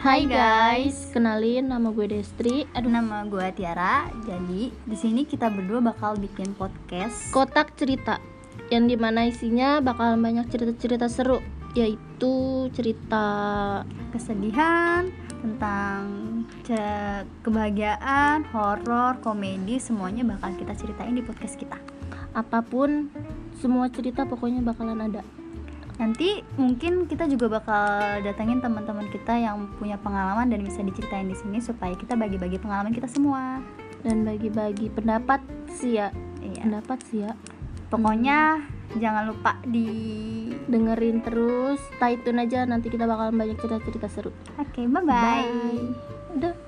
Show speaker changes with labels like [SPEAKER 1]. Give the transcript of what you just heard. [SPEAKER 1] Hai guys,
[SPEAKER 2] Kenalin nama gue Destri.
[SPEAKER 1] aduh nama gue Tiara. Jadi di sini kita berdua bakal bikin podcast.
[SPEAKER 2] Kotak cerita yang dimana isinya bakalan banyak cerita-cerita seru, yaitu cerita
[SPEAKER 1] kesedihan tentang ce- kebahagiaan, horor, komedi, semuanya bakal kita ceritain di podcast kita.
[SPEAKER 2] apapun, semua cerita pokoknya bakalan ada.
[SPEAKER 1] Nanti mungkin kita juga bakal datangin teman-teman kita yang punya pengalaman dan bisa diceritain di sini supaya kita bagi-bagi pengalaman kita semua.
[SPEAKER 2] Dan bagi-bagi pendapat sih ya,
[SPEAKER 1] Iya.
[SPEAKER 2] pendapat sih ya.
[SPEAKER 1] Pokoknya jangan lupa di
[SPEAKER 2] Dengerin terus, stay tune aja nanti kita bakalan banyak cerita-cerita seru.
[SPEAKER 1] Oke, bye-bye.
[SPEAKER 2] Bye. Udah.